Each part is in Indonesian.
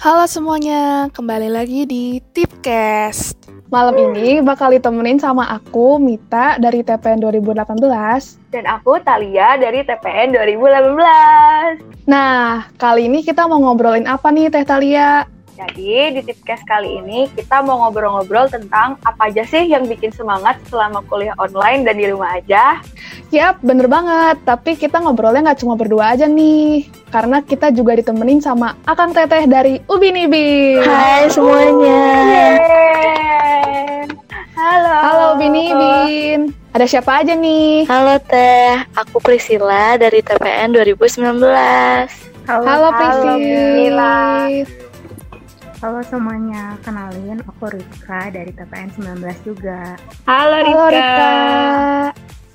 Halo semuanya, kembali lagi di Tipcast. Malam ini bakal ditemenin sama aku, Mita, dari TPN 2018. Dan aku Talia dari TPN 2018. Nah, kali ini kita mau ngobrolin apa nih, Teh Talia? Jadi di Tipcast kali ini kita mau ngobrol-ngobrol tentang apa aja sih yang bikin semangat selama kuliah online dan di rumah aja. Yap, bener banget. Tapi kita ngobrolnya nggak cuma berdua aja nih. Karena kita juga ditemenin sama Akang Teteh dari Ubin Ibin. Hai semuanya. Yeay. Halo. Halo Ubin Ibin. Ada siapa aja nih? Halo Teh, aku Priscilla dari TPN 2019. Halo, Halo, Priscil. Priscilla. Halo semuanya, kenalin aku Rika dari TPN 19 juga. Halo Rika. Halo Rika.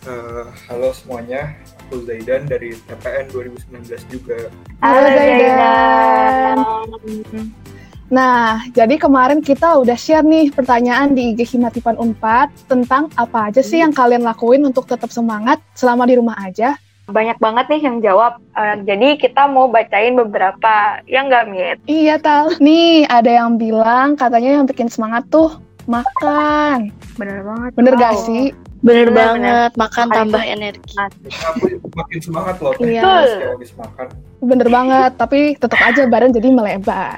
Eh, halo semuanya, aku Zaidan dari TPN 2019 juga. Halo, Zaidan. Zaidan. Nah, jadi kemarin kita udah share nih pertanyaan di IG Himatipan Unpad tentang apa aja sih yang kalian lakuin untuk tetap semangat selama di rumah aja. Banyak banget nih yang jawab. Eh, jadi kita mau bacain beberapa yang nggak Mit? Iya, Tal. Nih, ada yang bilang katanya yang bikin semangat tuh makan. Bener banget. Bener Wow. gak sih? Bener Iya, Bener, banget, makan Makasih. tambah energi. Aku makin semangat loh, teh. Iya. Setiap habis makan. Bener banget, tapi tetap aja badan jadi melebar.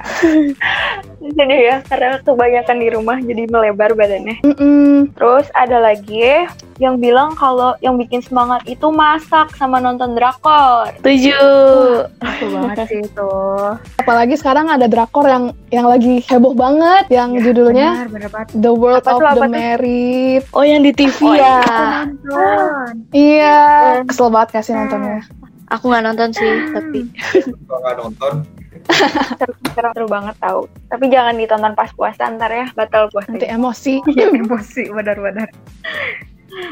Jadi ya, karena kebanyakan di rumah jadi melebar badannya. Mm-mm. Terus ada lagi yang bilang kalau yang bikin semangat itu masak sama nonton drakor. Tujuh. Aku banget sih itu. Apalagi sekarang ada drakor yang yang lagi heboh banget, yang Ya, judulnya Bener, bener banget. The World Apa of tuh, apa the tuh? Married. Oh yang di TV Oh, ya? Aku nonton. Iya, Eh, kesel banget kasih nontonnya. Aku nggak Ah. nonton sih, tapi Kalau nggak nonton, Seru, seru, seru banget tahu. Tapi jangan ditonton pas puasa ntar ya, batal puasa. Nanti emosi. Iya. Emosi, bener-bener.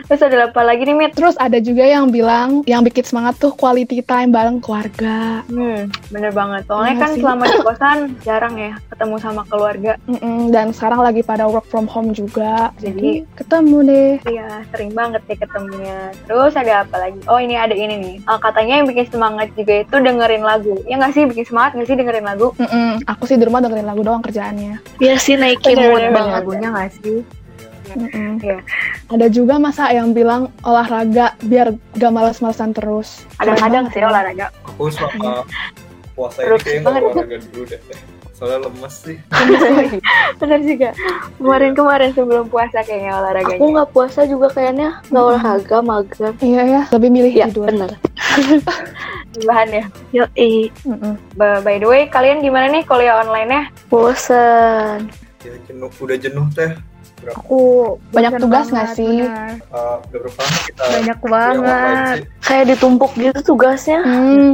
Terus ada apa lagi nih, Mit? Terus ada juga yang bilang yang bikin semangat tuh quality time bareng keluarga. Hmm, bener banget. Soalnya Iya kan sih. selama di kosan jarang ya ketemu sama keluarga. Mm-mm, dan sekarang lagi pada work from home juga. Jadi Jadi- ketemu deh. Iya, sering banget deh ketemunya. Terus ada apa lagi? Oh, ini ada ini nih. Ah, katanya yang bikin semangat juga itu dengerin lagu. Ya nggak sih? Bikin semangat nggak sih dengerin lagu? Mm-mm, aku sih di rumah dengerin lagu doang kerjaannya. biar iya sih naikin Bener, mood bener, banget. Lagunya gak sih? Mm-mm. Iya. Ada juga masa yang bilang olahraga biar gak malas-malasan terus. Kadang-kadang Keren sih banget. olahraga. aku selama puasa ini Terus kayaknya banget. nggak olahraga dulu deh. Teh. Soalnya lemes sih. Bener juga. Kemarin-kemarin sebelum puasa kayaknya olahraganya. Aku nggak puasa juga kayaknya nggak Hmm. olahraga mager. Iya ya, lebih milih Ya tidur. bener. bahan ya. Yoi, Mm-mm. Ba- By the way, kalian gimana nih kuliah online-nya? bosen. Ya, jenuh, udah jenuh teh. Berapa, Aku Banyak bosen tugas banget, nggak sih? bener. eh, udah berapa lama kita Banyak kuliah online banget. sih? Kayak ditumpuk gitu tugasnya. Hmm,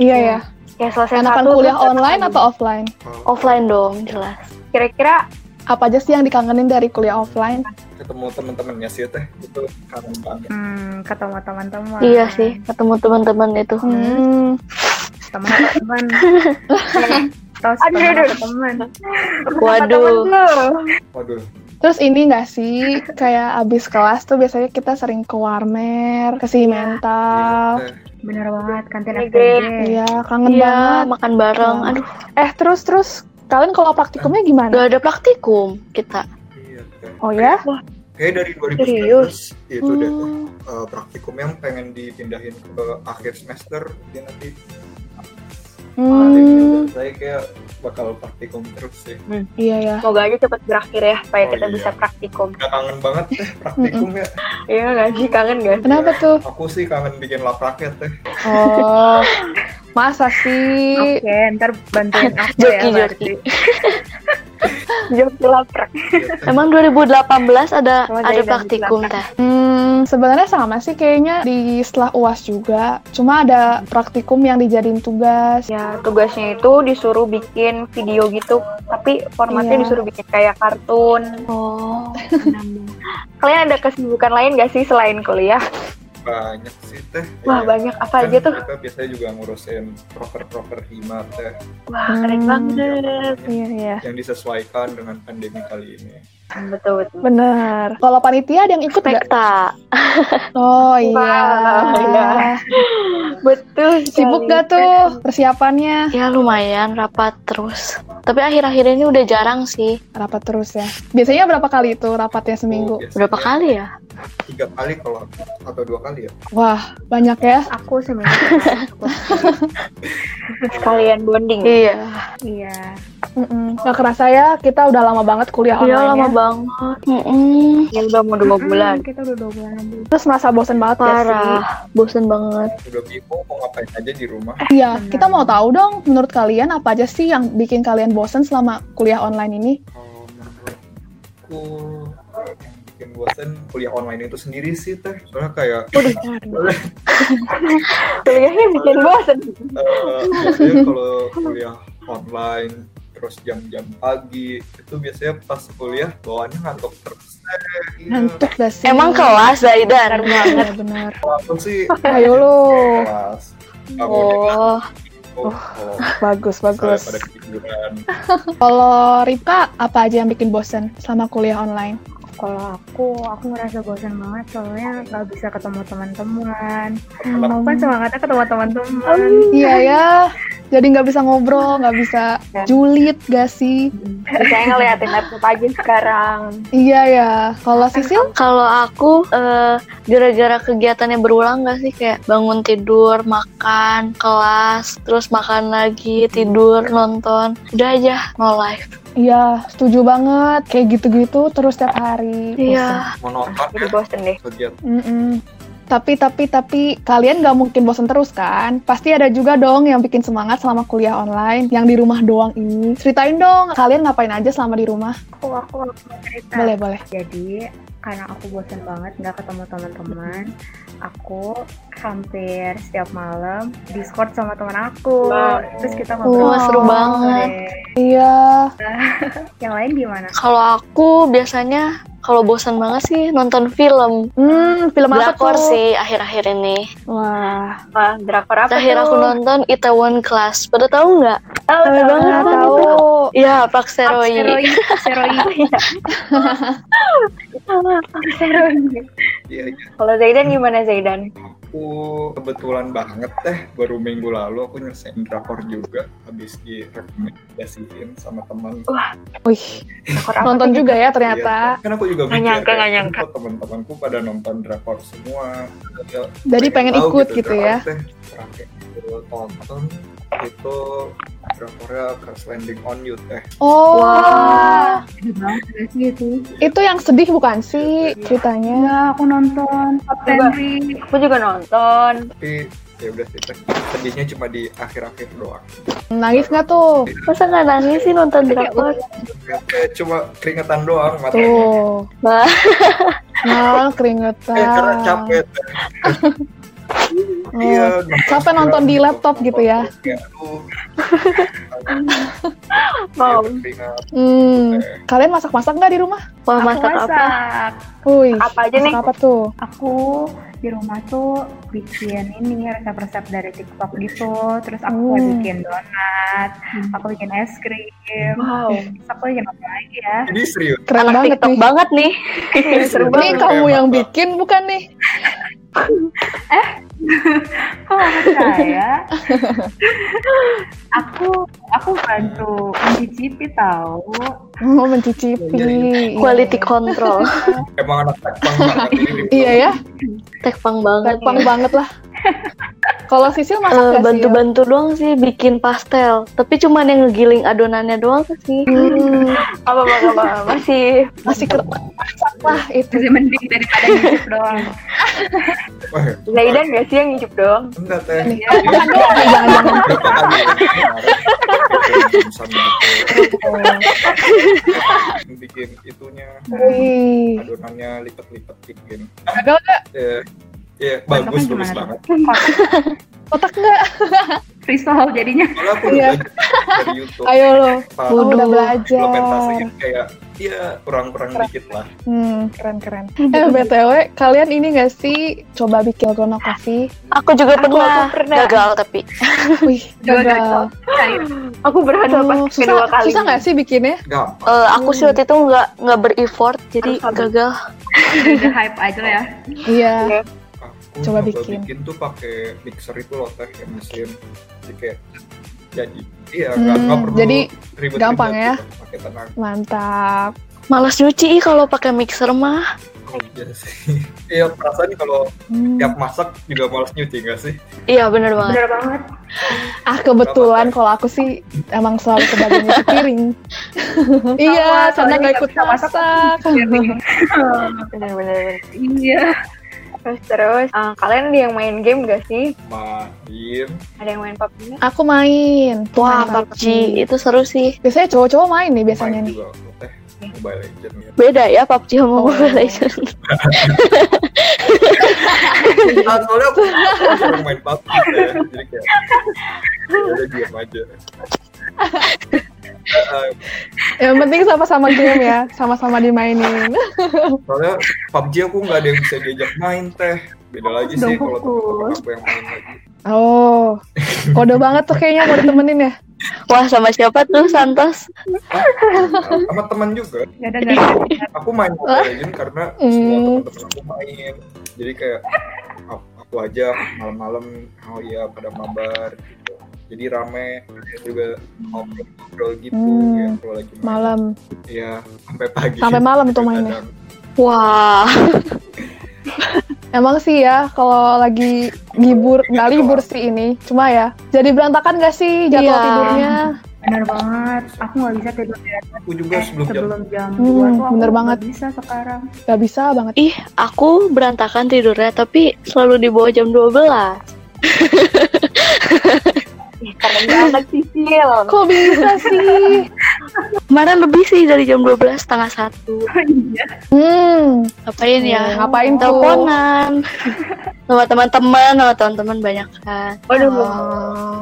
Iya ya. Ya selesai Enakan satu, kuliah terus- online atau offline? Eh, Offline dong, jelas. Kira-kira Apa aja sih yang dikangenin dari kuliah offline? ketemu temen-temennya sih teh itu kangen banget. Hmm, ketemu teman-teman. Iya sih, ketemu teman-teman itu. Hmm. Teman-teman. Tahu sih Aduh, aduh. teman-teman. Waduh, Waduh, Terus ini nggak sih kayak abis kelas tuh biasanya kita sering ke warmer, ke si mental. teh. Bener banget, kantin Iya, FTB. Iya, kangen iya banget. makan bareng. Aduh, Eh terus terus kalian kalau praktikumnya gimana? nggak ada praktikum kita. Iya, teh. Oh ya? Hmm. Kayaknya dari 2019 ya itu deh teh. Eh, praktikum yang pengen dipindahin ke akhir semester jadi nanti Hmm, saya kayak bakal praktikum terus sih. iya ya. Semoga aja cepet berakhir ya, supaya Oh, kita iya. bisa praktikum. Udah kangen banget teh praktikum ya. Iya nggak sih? Kangen nggak sih? Kenapa tuh? Aku sih kangen bikin lapraknya teh. Oh, masa sih? Oke, ntar bantuin aku ya. Joki, berarti. joki. Jawab laprak. Iya Emang 2018 ada Sama ada Zaidan praktikum di teh. Hmm, sebenarnya sama sih kayaknya di setelah uas juga. Cuma ada praktikum yang dijadiin tugas. Ya tugasnya itu disuruh bikin video gitu, tapi formatnya Iya. disuruh bikin kayak kartun. Oh. Kalian ada kesibukan lain nggak sih selain kuliah? Banyak sih teh. Wah Iya. banyak apa Kan aja tuh? Kita biasanya juga ngurusin proker-proker hima teh. Wah keren Hmm. banget. Iya iya. Yang disesuaikan dengan pandemi kali ini. Betul betul. Bener. Kalau panitia ada yang ikut nggak? Pekta. Oh iya. Wah, iya. Betul. Sibuk sekali. gak tuh persiapannya? Ya lumayan rapat terus. Tapi akhir-akhir ini udah jarang sih. Rapat terus ya. Biasanya berapa kali itu Oh, rapatnya seminggu? Biasanya Berapa kali ya? Tiga kali kalau atau dua kali ya. Wah, banyak ya. Aku seminggu sekali cukup. sekalian bonding Iya. Iya. Mm-mm. Nggak kerasa ya, kita udah lama banget kuliah online Iya lama ya. banget. ya udah mau dua bulan Hmm, kita udah dua bulan lebih. Terus merasa bosen banget ya sih? Parah. Bosen banget. Udah bingung mau ngapain aja di rumah. Eh, Iya, Benar. kita mau tahu dong menurut kalian apa aja sih yang bikin kalian bosen selama kuliah online ini? Kalau menurutku yang bikin bosen kuliah online itu sendiri sih teh. Soalnya kayak kuliahnya bikin bosen Eh, biasanya kalau kuliah online terus jam-jam pagi itu biasanya pas kuliah bawaannya ngantuk terus eh, iya. Ngantuk gak sih? Emang kelas Zaidan? Benar benar. Walaupun sih Ayo lu. kelas nggak mau dibilang Oh. oh, kalau Bagus misalnya bagus. pada ketiduran Kalau Rika apa aja yang bikin bosen selama kuliah online? Kalau aku, aku ngerasa bosan banget soalnya nggak bisa ketemu teman-teman. Kenapa? Aku kan semangatnya ketemu teman-teman. Iya ya. Jadi nggak bisa ngobrol, nggak bisa Ya. julid gak sih? saya ngeliatin laptop aja sekarang Iya ya. Kalau Sisil? Kalau aku eh, gara-gara kegiatannya berulang gak sih kayak bangun tidur, makan, kelas, terus makan lagi, tidur, nonton. Udah aja no life. Iya, setuju banget. Kayak gitu-gitu terus tiap hari. Iya. monoton jadi ya bosen deh kegiatan Mm-mm. Tapi, tapi, tapi kalian nggak mungkin bosen terus kan? Pasti ada juga dong yang bikin semangat selama kuliah online, yang di rumah doang ini. Ceritain dong, kalian ngapain aja selama di rumah? Aku, aku, aku mau Nah. cerita. Boleh, boleh. Jadi karena aku bosan banget nggak ketemu teman-teman, aku hampir setiap malam Discord sama teman aku. Wow. Terus kita ngobrol. Wah, seru banget. Iya, Yang lain gimana? Kalau aku biasanya kalau bosan banget sih nonton film. hmm, film apa Drakor tuh? sih akhir-akhir ini. Wah, Wah, drakor apa Terakhir tuh? aku nonton Itaewon Class. Pada tahu nggak? tahu Rame tahu, banget, tahu. tahu. Iya, Park Seroi. Seroi, seroi. Iya, iya. kalau Zaidan gimana Zaidan aku kebetulan banget teh baru minggu lalu aku nyelesain drakor juga habis direkomendasiin sama teman wih, drakor apa nonton juga ya ternyata. Iya, kan aku juga Nggak mikir nyangka, ya, nggak nyangka. kok teman-temanku pada nonton drakor semua Ya, Jadi pengen tahu kan. ikut gitu drakor ya. teh. Terakhir aku tonton itu drakornya Crash Landing on eh, You teh Oh, Wah. gitu. itu yang sedih bukan sih ceritanya? Enggak, Iya, aku nonton Top Ten Coba. Ring. aku juga nonton tapi ya udah sih teh sedihnya cuma di akhir-akhir doang Nangis nggak tuh? Iya. Masa nggak nangis sih nonton drakor? kayak cuma keringetan doang matanya Tuh, Wah. nah eh karena keringetan. capek teh Oh. Iya, nonton Capek nonton di film, laptop gitu ya. kayak, aduh. iya. Wow. Kayak berkeringat, Hmm, teh. kalian masak-masak nggak di rumah? Wah, Aku masak apa? masak. Wih, Apa aja masak nih? Apa tuh? Aku di rumah tuh bikin ini resep-resep dari TikTok gitu. Terus aku Hmm. bikin donat, aku bikin es krim. wow Terus aku bikin apa lagi ya? Ini serius. Keren Anak banget TikTok nih. banget nih. Seru Ini banget. kamu Kayak yang masak. bikin bukan nih? Kok nggak percaya? aku aku bantu mencicipi tahu. Oh, mencicipi. Iya, Quality control. Emang anak tekpang banget ini. Iya ya, Tekpang banget. gampang banget lah. Kalau Sisil Eh, masak nggak sih? ya? bantu-bantu doang sih bikin pastel tapi cuman yang ngegiling adonannya doang sih Hmm, apa apa apa masih masih keren. Masak lah itu. Masih mending daripada nyicip doang. Wah, ya, Zaidan gak sih yang hidup doang enggak teh. Nih, makan doang ya, jangan-jangan. Berapa kali ya? Kemarin. Sambil itu. bikin itunya Wih, adonannya lipat-lipat bikin. gagal nggak? Ya, ya bagus Bentuknya bagus gimana banget. tuh? Kotak Kotak nggak? risol jadinya. Kalau aku Iya. udah belajar dari YouTube. Ayo lo, Pak, kamu udah Bodoh. belajar. implementasiin kayak ya kurang-kurang dikit lah. Hmm, keren-keren. Eh, BTW, kalian ini nggak sih coba bikin dalgona coffee? aku juga Aku- pernah, aku pernah. gagal tapi Wih, Gagal. gagal. aku berhasil pas Oh, kedua susah, kali susah nggak sih bikinnya? Gampang. Eh, aku sih waktu itu nggak nggak bereffort jadi Alhamdulillah. gagal Udah hype aja ya. Iya. Aku Coba coba bikin. bikin. tuh pakai mixer itu loh teh yang mesin. Jadi kayak jadi iya nggak Hmm, nggak perlu jadi ribet gampang ya. pakai tenang Mantap. Malas nyuci ih kalau pakai mixer mah. aja Oh, sih iya perasaan kalau Hmm. tiap masak juga malas nyuci nggak sih Iya bener banget. Bener banget. Ah kebetulan kalau aku sih emang selalu kebagian nyuci piring. iya, karena Sama, soalnya nggak nggak ikut bisa masak. masak. Bener bener. bener. Iya. Terus terus eh, kalian ada yang main game gak sih? main Ada yang main PUBG? nggak? aku main. Wah Main PUBG itu seru sih. Biasanya cowok-cowok main nih Iya, biasanya main nih. Iya. juga aku teh Mobile Legends ya. Beda ya PUBG sama Oh. Mobile Legends. Ah, soalnya aku aku sering main PUBG ya. Jadi kayak ya udah diam aja. Eh, Yang penting sama-sama game ya, sama-sama dimainin. soalnya PUBG aku nggak ada yang bisa diajak main teh. Beda lagi sih Dong, kalau fokus. temen-temen aku yang main lagi. Oh, kode banget tuh kayaknya mau ditemenin ya. Wah sama siapa tuh Santos? Nah, sama teman juga. Gak ada gak ada. Aku main Mobile Legends karena Hmm. semua teman-teman aku main. Jadi kayak aku- aku aja malam-malam oh iya pada mabar gitu. Jadi rame juga ngobrol-ngobrol gitu Hmm. ya kalau lagi main. Malam. Iya, sampai pagi. Sampai malam tuh mainnya. Kadang. Wah. Emang sih ya, kalau lagi libur, nggak libur sih ini. Cuma ya, jadi berantakan nggak sih jadwal Iya. tidurnya? Bener banget. Aku gak bisa tidur di atas Aku juga eh, sebelum jam sebelum jam Hmm, 2 tuh aku bener nggak banget. bisa sekarang. Nggak bisa banget. Ih, aku berantakan tidurnya tapi selalu di bawah jam 12. Ih, Keren banget sih Sil. Kok bisa sih? Kemarin lebih sih dari jam 12 setengah satu. Iya. Hmm, Ngapain ya? ngapain tuh? teleponan sama teman-teman sama teman-teman banyak kan Waduh, Oh.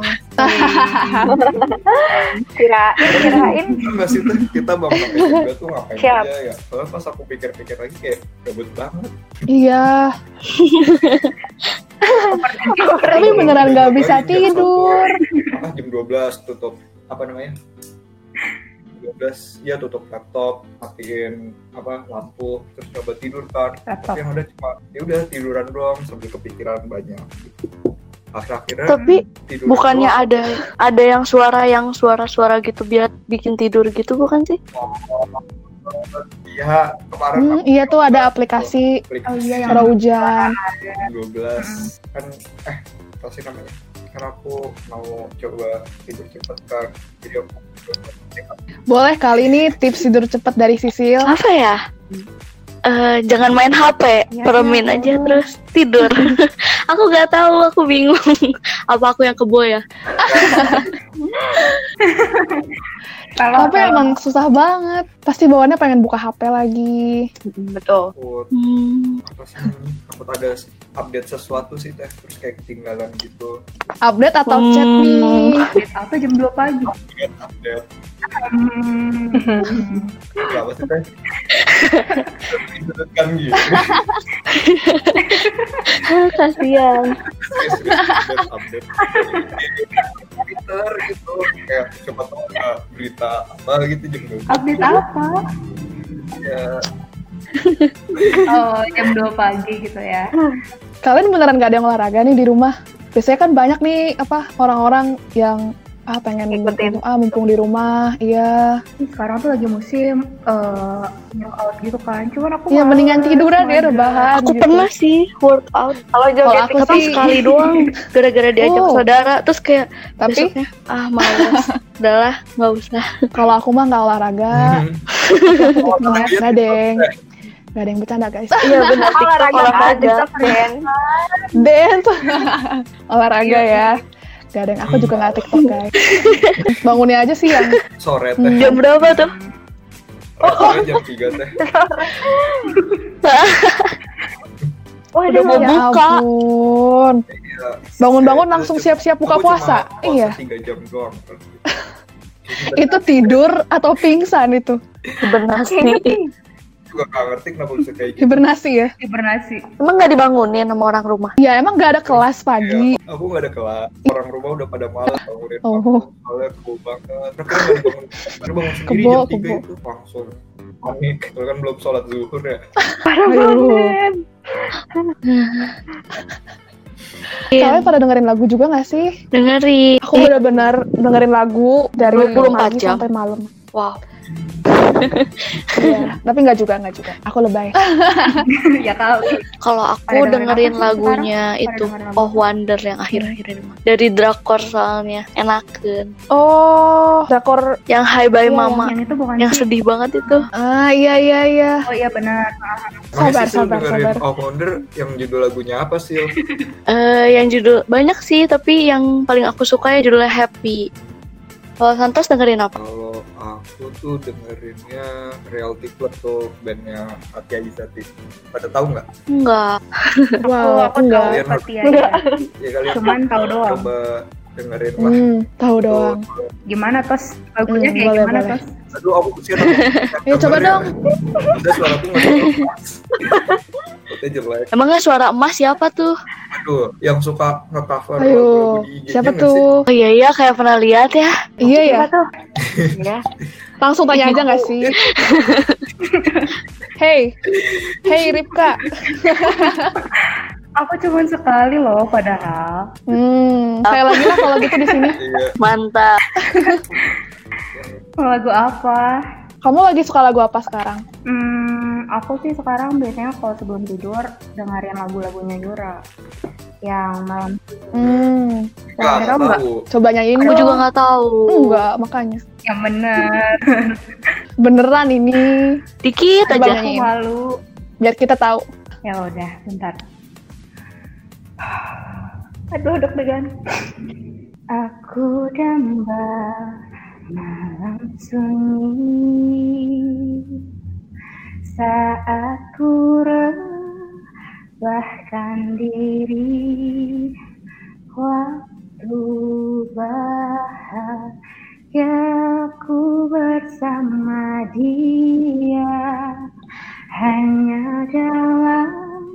kirain kirain Enggak sih tuh kita bang pakai juga tuh ngapain Siap. aja ya. Soalnya pas aku pikir-pikir lagi kayak gabut banget. Iya, tapi beneran nggak bisa tidur. Ah jam 12 tutup apa namanya? 12 ya tutup laptop, matiin apa lampu, terus coba tidur kan. Laptop. Tapi yang ada cuma ya udah tiduran doang sambil kepikiran banyak. Akhir akhirnya tapi tidur bukannya ada ada yang suara yang suara-suara gitu biar bikin tidur gitu bukan sih ya kemarin Hmm, aku iya tuh ada aplikasi klik Oh iya yang Hmm. suara hujan. 12 kan eh apa sih namanya karena aku mau coba tidur cepet kan jadi aku coba cepet. Boleh kali ini tips tidur cepet dari Sisil. apa ya Eh, jangan main HP, Iya, peremin iya. aja terus tidur. aku nggak tahu, aku bingung. apa aku yang kebo Iya. ya? Kalau Tapi emang susah banget. Pasti bawaannya pengen buka HP lagi. betul. takut Hmm, apa sih namanya, takut ada update sesuatu sih teh terus kayak ketinggalan gitu Update atau chat Hmm. nih. apa jam 2 pagi? update update Iya, Hmm. nggak apa sih teh kan gitu kasihan. Serius, serius, update update Twitter gitu kayak siapa tahu ada berita apa gitu jengkel Update apa? ya Oh, jam 2 pagi gitu ya. Kalian beneran gak ada yang olahraga nih di rumah? Biasanya kan banyak nih apa orang-orang yang ah pengen Ngikutin. ah mumpung di rumah, iya. Ih, sekarang tuh lagi musim eh workout gitu kan. Cuman aku Iya males, mendingan tiduran ya males. rebahan. Aku gitu. pernah sih workout, Kalau Kalau joget aku tapi sih- sekali doang gara-gara diajak Oh. saudara. Terus kayak Tapi besoknya, ah males, udahlah nggak usah. kalau aku mah nggak olahraga, Hmm. Iya. nggak deng. Nggak ada yang bercanda guys. Iya benar TikTok olahraga olahraga keren. Dance. olahraga Iya. ya. Gak ada yang aku juga nggak TikTok guys. Bangunnya aja sih yang sore teh Jam berapa tuh? Hmm. Sore jam 3 teh Wah, Udah mau ya buka. ampun. Iya. Bangun-bangun Saya langsung cuma- siap-siap buka aku cuma puasa. puasa Iya. tiga jam doang. Itu tidur atau pingsan itu? Hibernasi. Juga gak ngerti kenapa bisa kayak gitu. Hibernasi ya. Hibernasi. Emang nggak dibangunin sama orang rumah? Ya emang gak ada kelas pagi. Iya, Aku gak ada kelas. Orang rumah udah pada malas bangunin Oh. aku. Soalnya kebo banget. Terus kan baru bangun, baru bangun sendiri Kebo, jam 3 kebo. itu langsung. Panik. Soalnya kan belum sholat zuhur ya. Aduh. Kalian pada dengerin lagu juga gak sih? Dengerin. Aku bener-bener dengerin lagu dari 24 pagi jam. sampai malam. Wow. Iya, tapi nggak juga, nggak juga. Aku lebay. ya kali. Kalau aku Pada dengerin dengerin apa sih lagunya sekarang? Pada itu dengerin apa? Oh Wonder yang akhir-akhir ini. Dari drakor soalnya enakan. Oh, drakor. Yang Hi Bye Iya, Mama. Yang itu bukan Yang sih. sedih banget itu. Ah, iya, iya, iya. Oh iya benar. Sabar, sabar, dengerin sabar. All Wonder yang judul lagunya apa sih? Eh, yang judul banyak sih, tapi yang paling aku suka ya judulnya Happy. Kalau Santos dengerin apa? Kalau aku tuh dengerinnya Reality Club tuh bandnya Atia Izati. Pada tahu nggak? Enggak. Oh, Wow, aku tahu enggak. Kalian harus- Fatia. Enggak. Ya kalian Cuman tahu doang. Coba dengerin lah. Hmm, tahu doang. Gimana tos? Lagunya Hmm, kayak boleh, gimana boleh. tos? Aduh, aku kusir. Ya, coba dong. Udah suara aku nggak jelas. Udah jelek. Emangnya suara emas siapa tuh? Aduh, yang suka nge-cover Ayo, lagu-lagu di IG-nya siapa nggak sih? tuh? Oh iya iya kayak pernah lihat ya. Iya ya, Siapa tuh? ya. langsung tanya aja nggak sih? hey, hey Ripka. Aku cuman sekali loh padahal. Hmm, saya lagi lah kalau gitu di sini. Iya, Mantap. Lagu apa? Kamu lagi suka lagu apa sekarang? Hmm, aku sih sekarang biasanya kalau sebelum tidur dengerin lagu-lagunya Yura. Yang malam Hmm, nggak Ada nggak kamu nggak? tahu. coba nyanyiin Aku dong. juga nggak tahu. Enggak, makanya. yang bener. Beneran ini, Dikit Coba aja. Aku nyanyiin. malu. biar kita tahu. Ya udah, bentar. Aduh, deg-degan. Aku damba malam sunyi saat ku rebahkan diri waktu bahagia ku bersama dia hanya dalam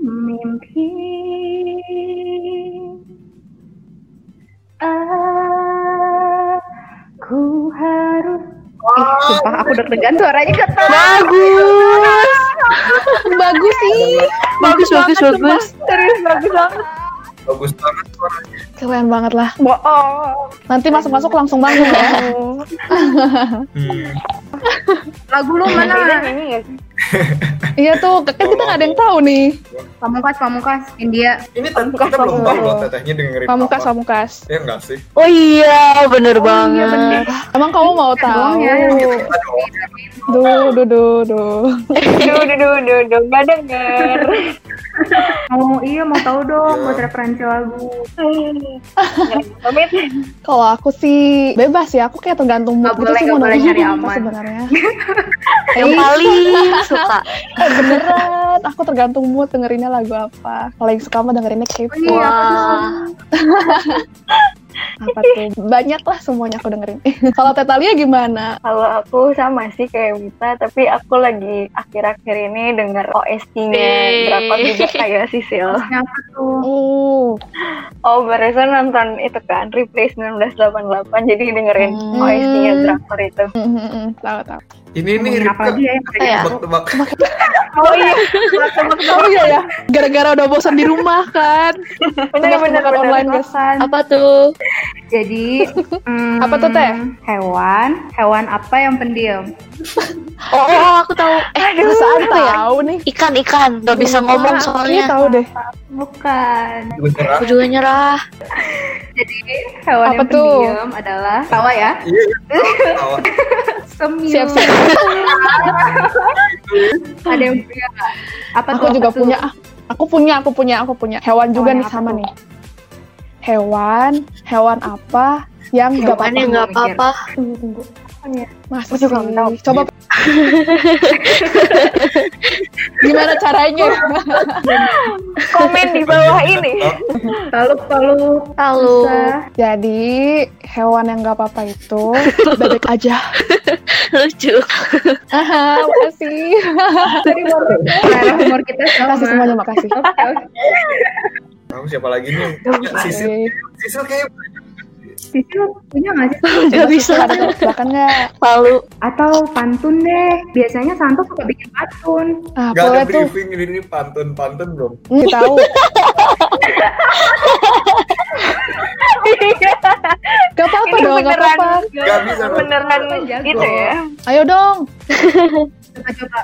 mimpi aku harus Ih, sumpah aku deg-degan suaranya ketat Nah, Bagus. Bagus sih. Bagus bagus banget, bagus. sumpah. Serius bagus banget. Bagus banget suaranya. Keren banget lah. bohong Nanti masuk-masuk langsung bangun ya. Hmm. lagu lu Aida mana nyanyi nggak sih? iya tuh, kan kita nggak ada yang tahu nih. pamungkas pamungkas India Ini tadi kita belum tahu loh tetehnya dengerin Pamukas, apa. pamukas. Ya nggak sih? Oh iya bener banget. Emang kamu mau tahu? doang ya. Kita doang. Duh, duh, duh, duh. Duh, duh, duh, duh, duh, nggak denger. mau iya mau tahu dong Iya. buat referensi lagu Pamit. Kalau aku sih bebas ya, aku kayak tergantung mood Nggak gitu boleh, sih nggak mau boleh dengerin nyari apa aman. sebenarnya. Yang paling suka. Eh, beneran, aku tergantung mood dengerinnya lagu apa. Kalau yang suka mah dengerinnya K-pop. Iya. Wah. Apa tuh? Banyak lah semuanya aku dengerin. Kalau Tetalia gimana? Kalau aku sama sih kayak Wita, tapi aku lagi akhir-akhir ini denger OST-nya Eh. berapa juga kayak Sisil. Kenapa tuh Uh, Oh, barusan nonton itu kan, Replay 1988, jadi dengerin Hmm. OST-nya drakor itu. mm, mm, mm, tahu tahu. Ini nih Ngomongin apa Ripka. lagi ya yang Apa ya? Tebak-tebak. Oh iya, Oh iya ya, gara-gara udah bosan di rumah kan. bener-bener. Tebak-tebakan online guys. makan Apa tuh? jadi mm, Apa tuh, Teh? hewan hewan apa yang pendiam Oh, oh, aku tahu. Iya. Eh Perasaan apa ya? tahu nih. Ikan ikan nggak bisa ngomong Ah, kayaknya soalnya. tahu deh. bukan Beneran. Aku juga nyerah. Jadi hewan Apa yang tuh? pendiam adalah tawa ya, Iya, iya. Tawa. semil. Siap siap. Ada yang punya nggak? Apa Aku tuh? juga Apa tuh? punya. ah. Aku punya, aku punya, aku punya. Hewan juga Hewan nih apa sama tuh? nih. Hewan, hewan apa yang nggak Hewan yang apa-apa? nggak apa-apa. Tunggu, tunggu. Masa Aku juga sih? nggak tahu. Coba. Gimana caranya? Komen di bawah Iya, ini. Taluk, taluk. Lalu Oh. Susah. Jadi hewan yang nggak apa-apa itu bebek aja. lucu. Aha, makasih. Selera humor kita sama. Makasih semuanya, makasih. Oke, oke. Tahu siapa lagi nih? Ya, Sisil. Oke. Sisil kayak Sisi lu punya nggak sih? Gak Coba bisa. Sisil ada tebak-tebakan nggak? Malu. Atau pantun deh. Biasanya Santo suka bikin pantun. Ah, Gak ada boleh tuh. briefing ini, ini pantun-pantun dong. Hmm, tahu. Gak apa-apa Ini dong, gak beneran, apa-apa. Gak bisa dong. beneran Jago. gitu ya. Ayo dong. Coba-coba.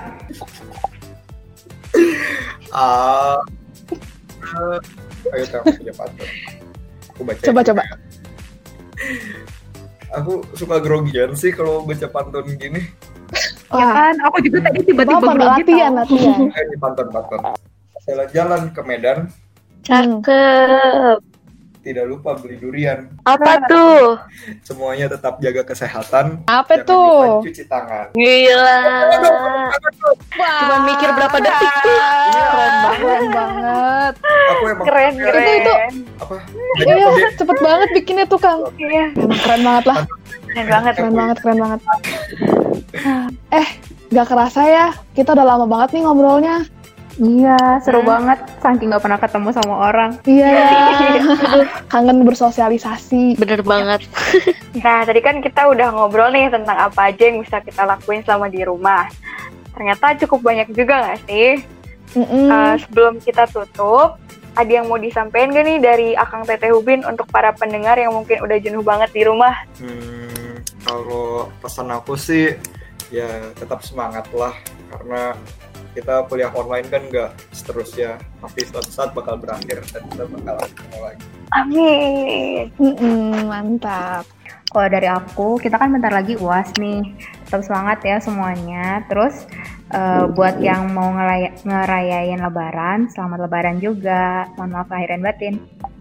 Ah. Eh, ayo tahu punya pantun. Aku baca. Coba, coba. Aku suka grogian sih kalau baca pantun gini. Ya Wah, kan? Aku juga tadi tiba-tiba gitu. apa grogi latihan, tau. latihan. Eh, di pantun-pantun. Jalan-jalan ke Medan, Cakep. tidak lupa beli durian. Apa tuh? Semuanya tetap jaga kesehatan. Apa Jangan tuh? lupa cuci tangan. Gila. Cuma mikir berapa detik tuh. Keren banget, keren banget. Aku emang ya. Keren, keren. Itu, itu. apa? Iya, iya, cepet banget bikinnya tuh, Kang. Iya, Emang keren banget lah. keren banget. Keren banget, keren banget. Eh, gak kerasa ya. Kita udah lama banget nih ngobrolnya. Iya, seru Hmm. banget. Saking gak pernah ketemu sama orang. Iya ya. Kangen bersosialisasi. Bener banget. Nah, tadi kan kita udah ngobrol nih tentang apa aja yang bisa kita lakuin selama di rumah. Ternyata cukup banyak juga nggak sih? Mm-mm. Eh, sebelum kita tutup, ada yang mau disampaikan gak nih dari Akang Teteh Hubin untuk para pendengar yang mungkin udah jenuh banget di rumah? Hmm, kalau pesan aku sih ya tetap semangat lah karena kita kuliah online kan nggak seterusnya tapi suatu saat bakal berakhir dan kita bakal ketemu lagi. Amin. Mm-mm, mantap. Kalau dari aku, kita kan bentar lagi UAS nih. Tetap semangat ya semuanya. Terus eh, buat yang mau ngelay- ngerayain lebaran, selamat lebaran juga. Mohon maaf lahir dan batin.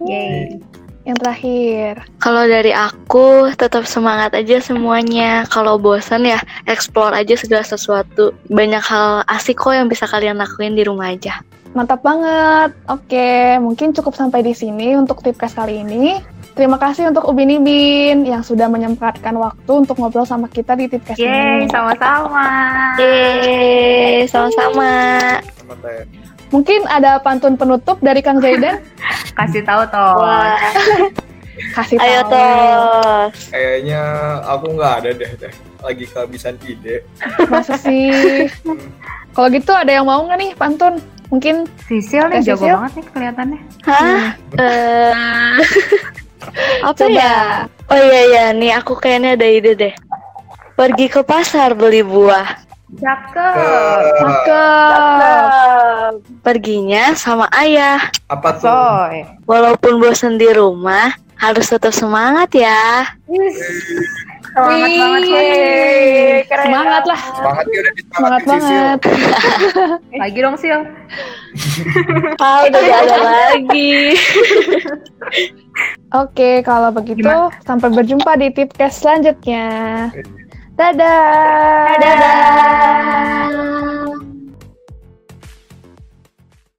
Yeay. Yang terakhir. Kalau dari aku, tetap semangat aja semuanya. Kalau bosan ya, explore aja segala sesuatu. Banyak hal asik kok yang bisa kalian lakuin di rumah aja. Mantap banget. Oke, mungkin cukup sampai di sini untuk tipcast kali ini. Terima kasih untuk Ubin Ibin yang sudah menyempatkan waktu untuk ngobrol sama kita di tipcast ini. Yeay, sama-sama. Yeay, sama-sama. Sama Teh. Mungkin ada pantun penutup dari Kang Zaidan? Kasih tahu toh. Wah, Kasih ayo tahu. tos. Kayaknya aku nggak ada deh, deh lagi kehabisan ide. Masa sih? Hmm, Kalau gitu ada yang mau nggak nih pantun? Mungkin Sisil nih Teh jago Sisil? banget nih kelihatannya. Hah? Eh, Hmm. apa Coba. ya? Oh iya iya, nih aku kayaknya ada ide deh. Pergi ke pasar beli buah. Ah, Cakep. cakep. Perginya sama ayah. apa tuh? Soy. Walaupun bosan di rumah, harus tetap semangat ya. Semangat banget Soy. Yeay, keren. Semangat lah, Semangatnya udah semangat disemangatin, Sisil. banget. Lagi dong Sil. Ah, udah gak ada lagi. Oke, kalau begitu Gimana? sampai berjumpa di tipcast selanjutnya. Dadah. Dadah.